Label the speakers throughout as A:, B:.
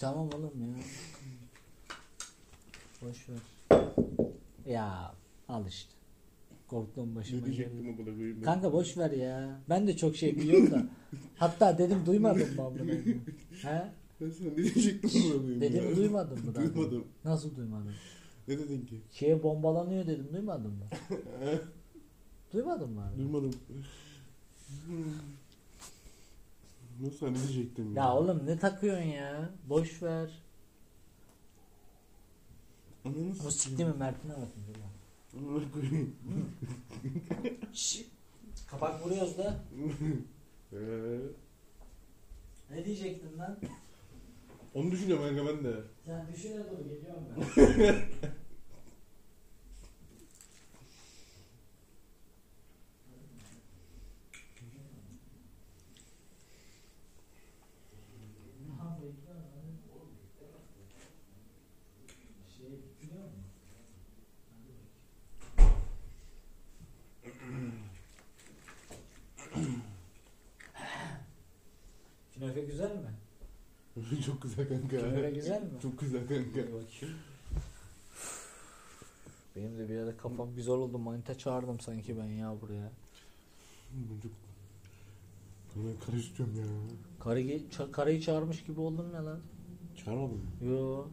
A: Tamam oğlum ya. Boş ver. Ya al işte. Korktuğum
B: Ne
A: başıma geldi.
B: diyecektim o buna koyayım.
A: Kanka boş ver ya. Ben de çok şey biliyorum da. Hatta dedim duymadım mı amına koyayım? He?
B: Ben sana ne diyecektim buna koyayım.
A: Dedim
B: ya?
A: duymadın mı? daha?
B: Duymadım.
A: Nasıl duymadın?
B: Ne dedin ki?
A: Şeye bombalanıyor dedim duymadın mı? duymadın mı abi?
B: Duymadım. Nasıl hani diyecektim ya?
A: Ya oğlum ne takıyorsun ya? Boş ver.
B: Ananı
A: O sikti mi Mert'ine bakın. dur lan.
B: Amına koyayım.
A: Şşş. Kapak vuruyoruz da.
B: Ee,
A: Ne diyecektim lan?
B: Onu düşünüyorum kanka ben de.
A: Sen düşüne dur geliyorum ben. Künefe güzel mi?
B: Çok güzel kanka.
A: Künefe güzel mi?
B: Çok güzel kanka.
A: Benim de bir ara kafam güzel oldu. Manita çağırdım sanki ben ya buraya.
B: Ben Çok... Ben karıştırıyorum ya.
A: Karı, ça- karıyı çağırmış gibi oldum ya lan.
B: Çağırmadın mı?
A: Yo.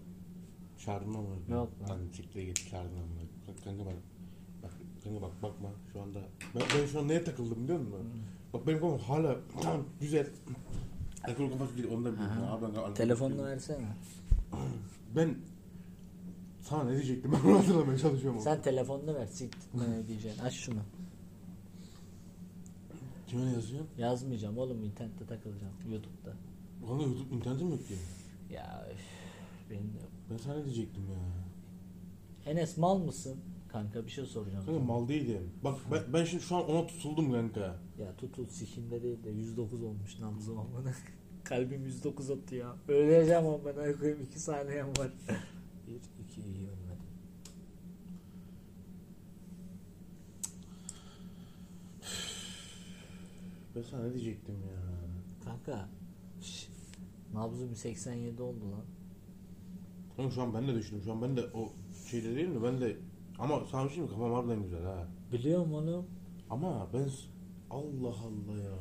B: Çağırdın ama.
A: Yok lan.
B: Hani siktir git çağırdın ama. Bak kanka bak. Bak kanka bak bakma şu anda. Ben, ben şu an neye takıldım biliyor musun? Bak benim kafam hala tamam güzel. Alkol kafası değil onu da bilmiyorum.
A: Aha.
B: Abi, ben alkol-
A: Telefonunu versene.
B: Ben sana ne diyecektim ben onu hatırlamaya çalışıyorum.
A: Sen telefonunu ver. Siktir ne diyeceksin. Aç şunu.
B: Kime ne yazıyorsun?
A: Yazmayacağım oğlum. internette takılacağım. Youtube'da.
B: Ulan da YouTube internetim yok ki.
A: Ya üf, benim de yok.
B: Ben sana ne diyecektim ya.
A: Enes mal mısın? Kanka bir şey soracağım.
B: Kanka mal değilim. Bak ben, ben şimdi şu an ona tutuldum kanka.
A: Ya tutul sikimde değil de 109 olmuş nabzım amına. Kalbim 109 atıyor. Öleceğim amına koyayım 2 saniyem var. 1 2 iyi ölmedim.
B: Ben sana ne diyecektim ya.
A: Kanka şş, nabzım 87 oldu lan.
B: Oğlum şu an ben de düşündüm. Şu an ben de o şeyde değil mi? Ben de ama sana bir şey mi? Kafam harbiden güzel ha.
A: Biliyorum oğlum.
B: Ama ben s- Allah Allah ya.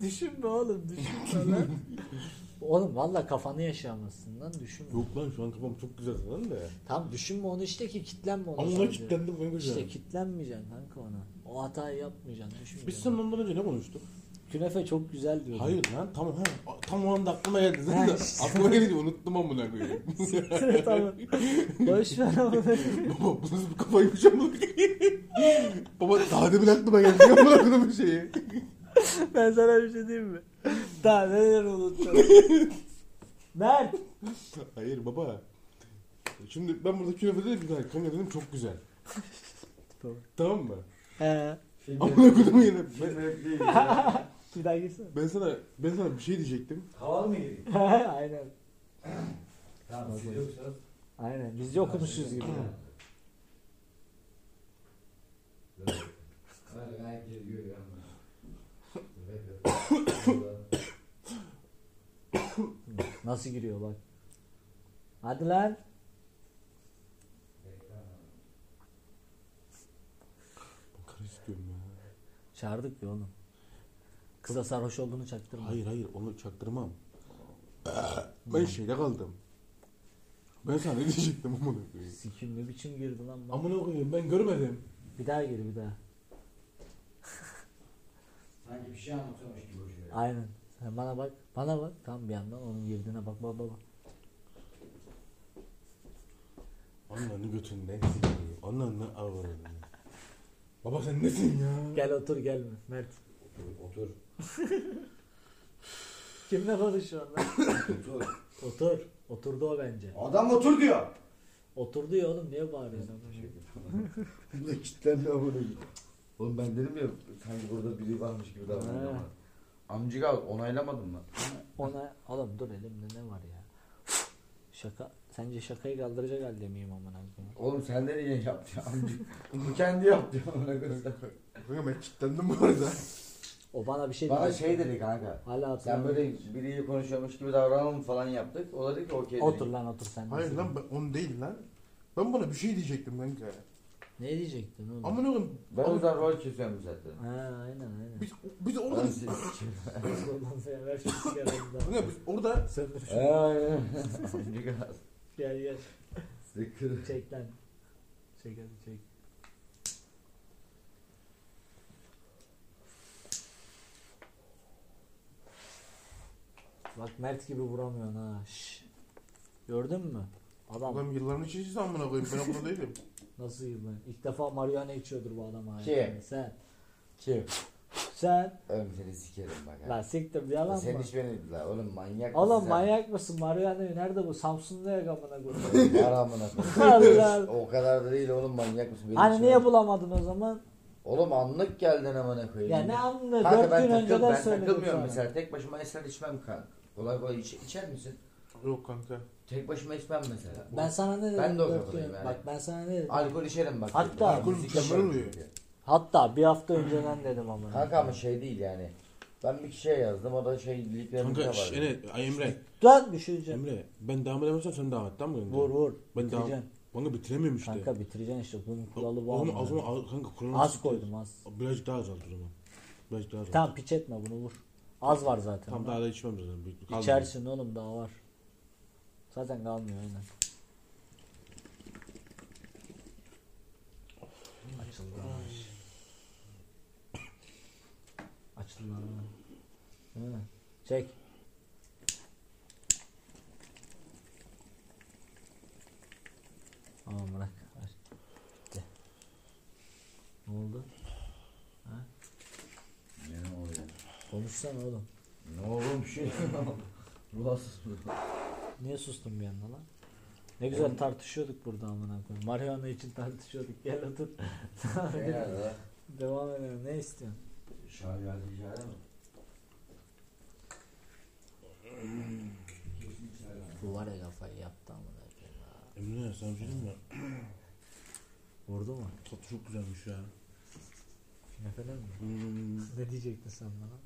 A: Düşünme oğlum düşünme lan. oğlum valla kafanı yaşayamazsın lan düşünme.
B: Yok lan şu an kafam çok güzel lan da.
A: Tam düşünme onu işte ki kitlenme ona.
B: Ama
A: sadece.
B: kilitlendim kanka şu an.
A: İşte kitlenmeyeceksin kanka ona. O hatayı yapmayacaksın düşünmeyeceksin.
B: Biz seninle ondan önce ne konuştuk?
A: Künefe çok güzel diyor.
B: Hayır lan tamam ha. A- Tam o anda aklıma geldi.
A: Ha,
B: Sen de
A: işte.
B: aklıma geldi unuttum amına koyayım.
A: tamam. Boş ver ama.
B: Baba bu nasıl bir kafaymış amına koyayım. Baba daha demin aklıma geldi amına koyayım bir şeyi.
A: Ben sana bir şey diyeyim mi? Daha neler unuttum. Mert.
B: Hayır baba. Şimdi ben burada künefe dedim ki "Lan kanka dedim çok güzel.
A: Tamam.
B: Tamam mı?
A: He.
B: Amına koydum yine. Ben,
C: Şey değil ya.
A: Bir daha girsene.
B: ben sana ben sana bir şey diyecektim.
C: Havalı mı gireyim?
A: Aynen.
C: Tamam siz yoksanız.
A: Aynen. Biz de okumuşuz gibi. ya.
C: Hala gayet geliyor ya.
A: Nasıl giriyor bak. Hadi lan.
B: Karı istiyorum ya.
A: Çağırdık ya oğlum. Kıza sarhoş olduğunu çaktırma.
B: Hayır hayır onu çaktırmam. ben şeyde kaldım. Ben sana ne diyecektim amına koyayım.
A: Sikim ne biçim girdi lan. bak.
B: Amına koyayım ben görmedim.
A: Bir daha gir bir daha.
C: Sanki bir şey anlatıyormuş gibi oluyor.
A: Aynen. Sen bana bak. Bana bak. Tam bir yandan onun girdiğine bak bak bak. bak.
B: Ananı götünden sikeyim. Ananı avradını. Baba sen nesin ya?
A: Gel otur gelme. Mert.
C: Otur. Otur.
A: Kimle konuşuyorsun lan?
C: otur.
A: otur. Oturdu o bence.
C: Adam otur diyor.
A: Oturdu ya oğlum niye bağırıyorsun?
C: Ne kitlenme bunu. Oğlum ben dedim ya sanki burada biri varmış gibi davranıyor
A: Ha.
C: ama. Amcık abi onaylamadın mı?
A: Ona oğlum dur elimde ne var ya? Şaka sence şakayı kaldıracak halde miyim amına koyayım?
C: Oğlum sen de niye yaptın amcık? Bu kendi yaptı.
B: Kanka ben kilitlendim bu arada.
A: O bana bir şey
C: Bana
A: dedi.
C: şey dedi kanka.
A: Hala
C: Sen
A: hatırlamıyorum.
C: böyle biriyle konuşuyormuş gibi davranalım falan yaptık. O da dedi ki okey dedi.
A: Otur lan otur sen.
B: Hayır
A: de.
B: lan ben, onu değil lan. Ben buna bir şey diyecektim kanka.
A: Ne diyecektin oğlum?
B: Ama ne oğlum?
C: Ben o yüzden rol çiziyorum zaten.
A: Ha aynen aynen.
B: Biz, biz orada...
C: Ben siz-
A: Ondan sonra ver şu sigaranı da.
B: Kanka biz orada...
A: Sen de şu-
C: Aynen. Biraz
A: Gel gel.
C: sıkı.
A: Çek lan. Çek hadi çek. Bak Mert gibi vuramıyorsun ha. Şş. Gördün mü? Adam
B: Adam yıllarını içeceğiz amına koyayım. Ben orada değilim.
A: nasıl gibi? İlk defa marihuana içiyordur bu adam ha.
C: Kim?
A: Sen.
C: Kim?
A: Sen.
C: Oğlum seni sikerim bak. ha.
A: Lan siktir yalan
C: Sen
A: mı?
C: hiç beni la oğlum manyak
A: Oğlum
C: mısın
A: manyak mısın? Marihuana nerede bu? Samsun'da ya amına koyayım.
C: sen? Var amına koyayım.
A: Allah.
C: O kadar da değil oğlum manyak mısın? Benim
A: Hani
C: için
A: niye
C: öyle-
A: bulamadın o zaman?
C: Oğlum anlık geldin amına koyayım.
A: Ya ne anlı?
C: Kanka
A: Dört
C: ben
A: gün
C: takıl-
A: önceden
C: ben
A: söyledim
C: takılmıyorum
A: sana.
C: mesela. Tek başıma esrar içmem kanka. Kolay kolay iç- içer misin?
B: Yok kanka.
C: Tek başıma içmem mesela.
A: Ben sana ne dedim?
C: Ben de o
A: dört
C: kafadayım
A: gün-
C: yani.
A: Bak ben sana ne dedim?
C: Alkol içerim bak.
A: Hatta-
B: Alkol
C: Müzik
B: mükemmel
C: içerim
B: oluyor.
C: çünkü.
A: Hatta bir hafta önceden dedim ama.
C: Kanka ama şey değil yani. Ben bir kişiye yazdım o da şey linklerimde
B: Kanka
C: var.
B: şş, Enes, ay Emre.
A: Lan düşüreceğim.
B: Emre ben devam edemezsem sen devam et tamam mı?
A: Şey- Vur vur.
B: Ben devam...
A: bitireceksin.
B: Kanka bitiremiyorum işte.
A: Kanka bitireceksin işte. Bunun kuralı bu.
B: Oğlum
A: ama.
B: az, az, kanka kuralı
A: Az
B: nasıl-
A: koydum az.
B: Birazcık daha azalt o zaman. Birazcık daha azalt.
A: Tamam piç etme bunu vur. Az var zaten.
B: Tam daha da içmem zaten. Bir- kaldı.
A: İçersin oğlum daha var. Zaten kalmıyor aynen. Açıldı. ağaç. Açıldı. lan. Hı. Çek. Tamam bırak. Ver. Bitti. Ne oldu?
C: Ne oluyor?
A: Konuşsana oğlum.
C: Ne oğlum şey? Ruhsuz mu?
A: Niye sustun bir anda lan? Ne güzel tartışıyorduk burada amına koyayım. Marihuana için tartışıyorduk. Gel otur.
C: Nerede?
A: Devam edelim. Ne istiyorsun?
C: Şu an geldi içeride mi?
A: Bu var ya kafayı yaptı amına koyayım. ha.
B: Emre sen bir şey diyeyim mi?
A: Vurdu mu?
B: Tatlı çok güzelmiş ya.
A: Nefeden mi?
B: Hmm.
A: Ne diyecektin sen bana?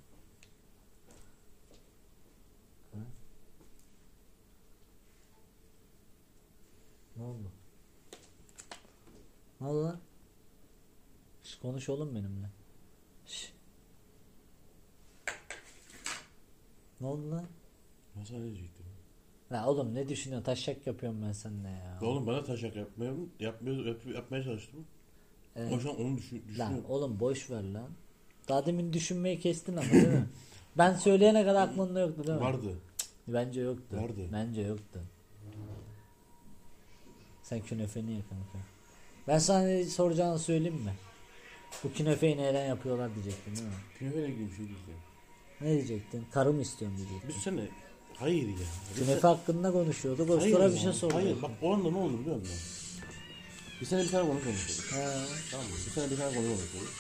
A: Ha? Ne oldu? Ne oldu lan? Şş, konuş oğlum benimle. Şş. Ne oldu lan?
B: Nasıl diyecektim?
A: La oğlum ne düşünüyorsun? Taşak yapıyorum ben seninle ya.
B: Ya oğlum bana taşak yapmayalım. Yapmıyor, yap, yapmaya çalıştım.
A: Evet.
B: Ama şu an onu düşün,
A: Ee, Lan
B: düşünüyorum.
A: oğlum boş ver lan. Daha demin düşünmeyi kestin ama değil mi? ben söyleyene kadar aklında yoktu değil mi?
B: Vardı.
A: Bence yoktu.
B: Vardı.
A: Bence yoktu. Sen künefeni ye kanka. Ben sana ne soracağını söyleyeyim mi? Bu künefeyi neyden yapıyorlar diyecektin değil mi?
B: Künefeyle ilgili bir şey diyeceğim.
A: Ne diyecektin? Karım istiyorum diyecektin.
B: Biz sene... Hayır ya. Biz
A: Künefe
B: sen-
A: hakkında konuşuyorduk. O
B: Hayır
A: sıra bir
B: ya.
A: şey sordu.
B: Hayır bak o anda ne oldu biliyor musun? Bir sene bir tane konu konuşuyorduk.
A: Ha.
B: Tamam mı? Bir sene bir tane konu konuşuyorduk.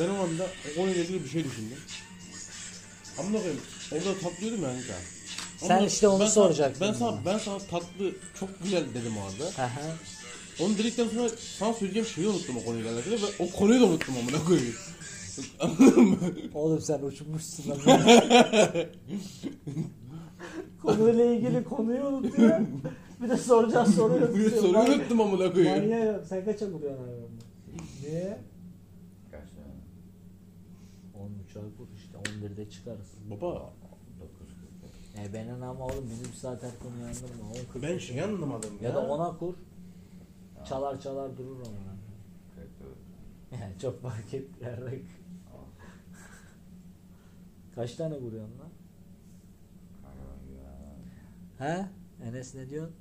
B: Ben o anda o konuyla ilgili bir şey düşündüm. Amına koyayım. Orada tatlıyordum ya kanka.
A: Sen işte onu
B: ben
A: soracaksın
B: Sana, ben, sana,
A: bana.
B: ben sana tatlı çok güzel dedim o anda.
A: Aha.
B: Onu dedikten sonra sana söyleyeceğim şeyi unuttum o konuyla alakalı ve o konuyu da unuttum amına koyayım. Anladın mı?
A: Oğlum sen uçmuşsun lan. Konuyla ilgili konuyu unutuyor. Bir de soracağın soruyu
B: Bir soruyu unuttum amına koyayım.
A: Manyak sen kaça vuruyorsun hayvanla? Niye?
C: Kaç tane?
A: 13 ay vur işte 11'de çıkarız.
B: Baba
C: Dokuz.
A: E benim ama oğlum bizim zaten konuyu anlama. 10
B: ben şey anlamadım
A: ya da ona kur. Çalar çalar durur ama.
C: Kırk dört.
A: Yani çok fark etmiyor. Kaç tane vuruyorsun lan?
C: Kanka ben güvenemem.
A: He? Enes ne diyorsun?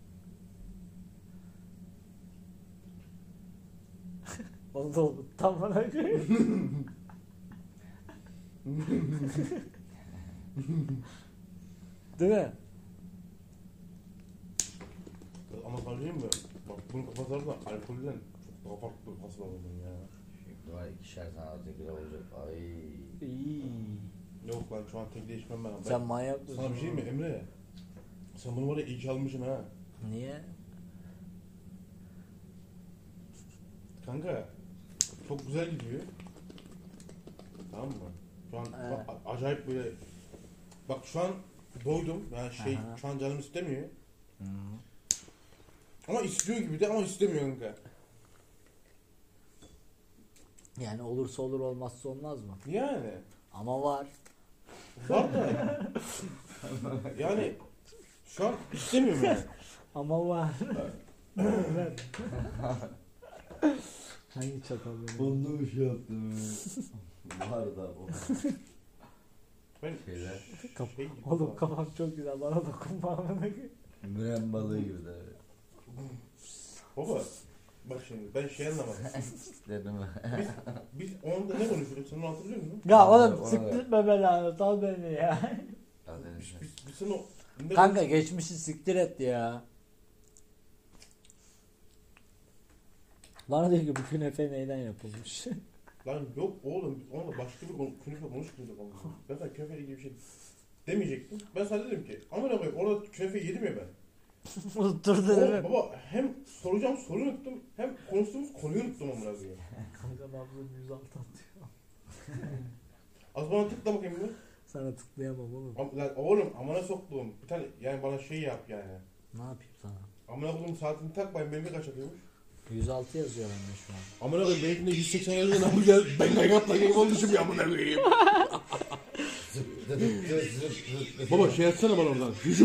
A: Onu da oldu. Tam bana göre. Değil mi?
B: Ama söyleyeyim mi? Bak bunu kapatarsa alkolden çok daha farklı hasıl alırım ya.
C: Şimdi var ikişer tane azıcık bile olacak. Ay.
B: Yok lan şu an tek değişmem ben.
A: Sen
B: Ben-
A: manyak mısın?
B: Sana bir şey mi Emre? Sen bunu var ya iyi ki almışsın ha.
A: Niye?
B: Kanka çok güzel gidiyor. Tamam mı? Şu Şu an
A: Evet.
B: bak, a- acayip böyle. Bak şu an doydum. Yani şey
A: Aha.
B: şu an canım istemiyor. Ama istiyor gibi de ama istemiyor kanka.
A: Yani olursa olur olmazsa olmaz mı?
B: Yani.
A: Ama var.
B: Var da. yani şu an istemiyorum yani.
A: Ama var. Hangi çakal benim?
C: Bunda bir şey yaptım. Var da o.
B: Ben
C: Şeyler.
A: Kap-
B: şey,
A: Oğlum kafam çok güzel bana dokunma amına
C: Müren balığı gibi de.
B: baba bak şimdi ben şey anlamadım.
C: Dedim.
B: Biz, biz onda ne konuşuyorduk sen onu hatırlıyor musun?
A: Ya
C: Ona
A: oğlum
C: da-
A: siktirtme belanı sal beni ya.
B: Biz, biz, biz sen o... Ne
A: Kanka geçmişi siktir et ya. Bana diyor ki bu künefe neyden yapılmış?
B: Lan yok oğlum biz onunla başka bir konu, künefe konuşmuyorduk ama. Ben sana künefe gibi bir şey demeyecektim. Ben sana dedim ki amına koyayım orada künefe yedim ya ben.
A: Unutturdu değil
B: Oğlum,
A: mi?
B: baba hem soracağım soruyu unuttum hem konuştuğumuz konuyu unuttum amına koyayım.
A: Kanka nabzım 106 atıyor.
B: Az bana tıkla bakayım bir.
A: Sana tıklayamam oğlum.
B: Am- Lan oğlum amına soktuğum bir tane yani bana şey yap yani.
A: Ne yapayım sana?
B: Amına koyduğum saatini takmayın benimki kaç yapıyormuş.
A: 106 yazıyor bende şu an.
B: Amına koyayım benimkinde 180 yazıyor ne yapacağız? Ben kaynakla game olmuşum ya amına koyayım. Baba şey atsana bana oradan. Yüzüm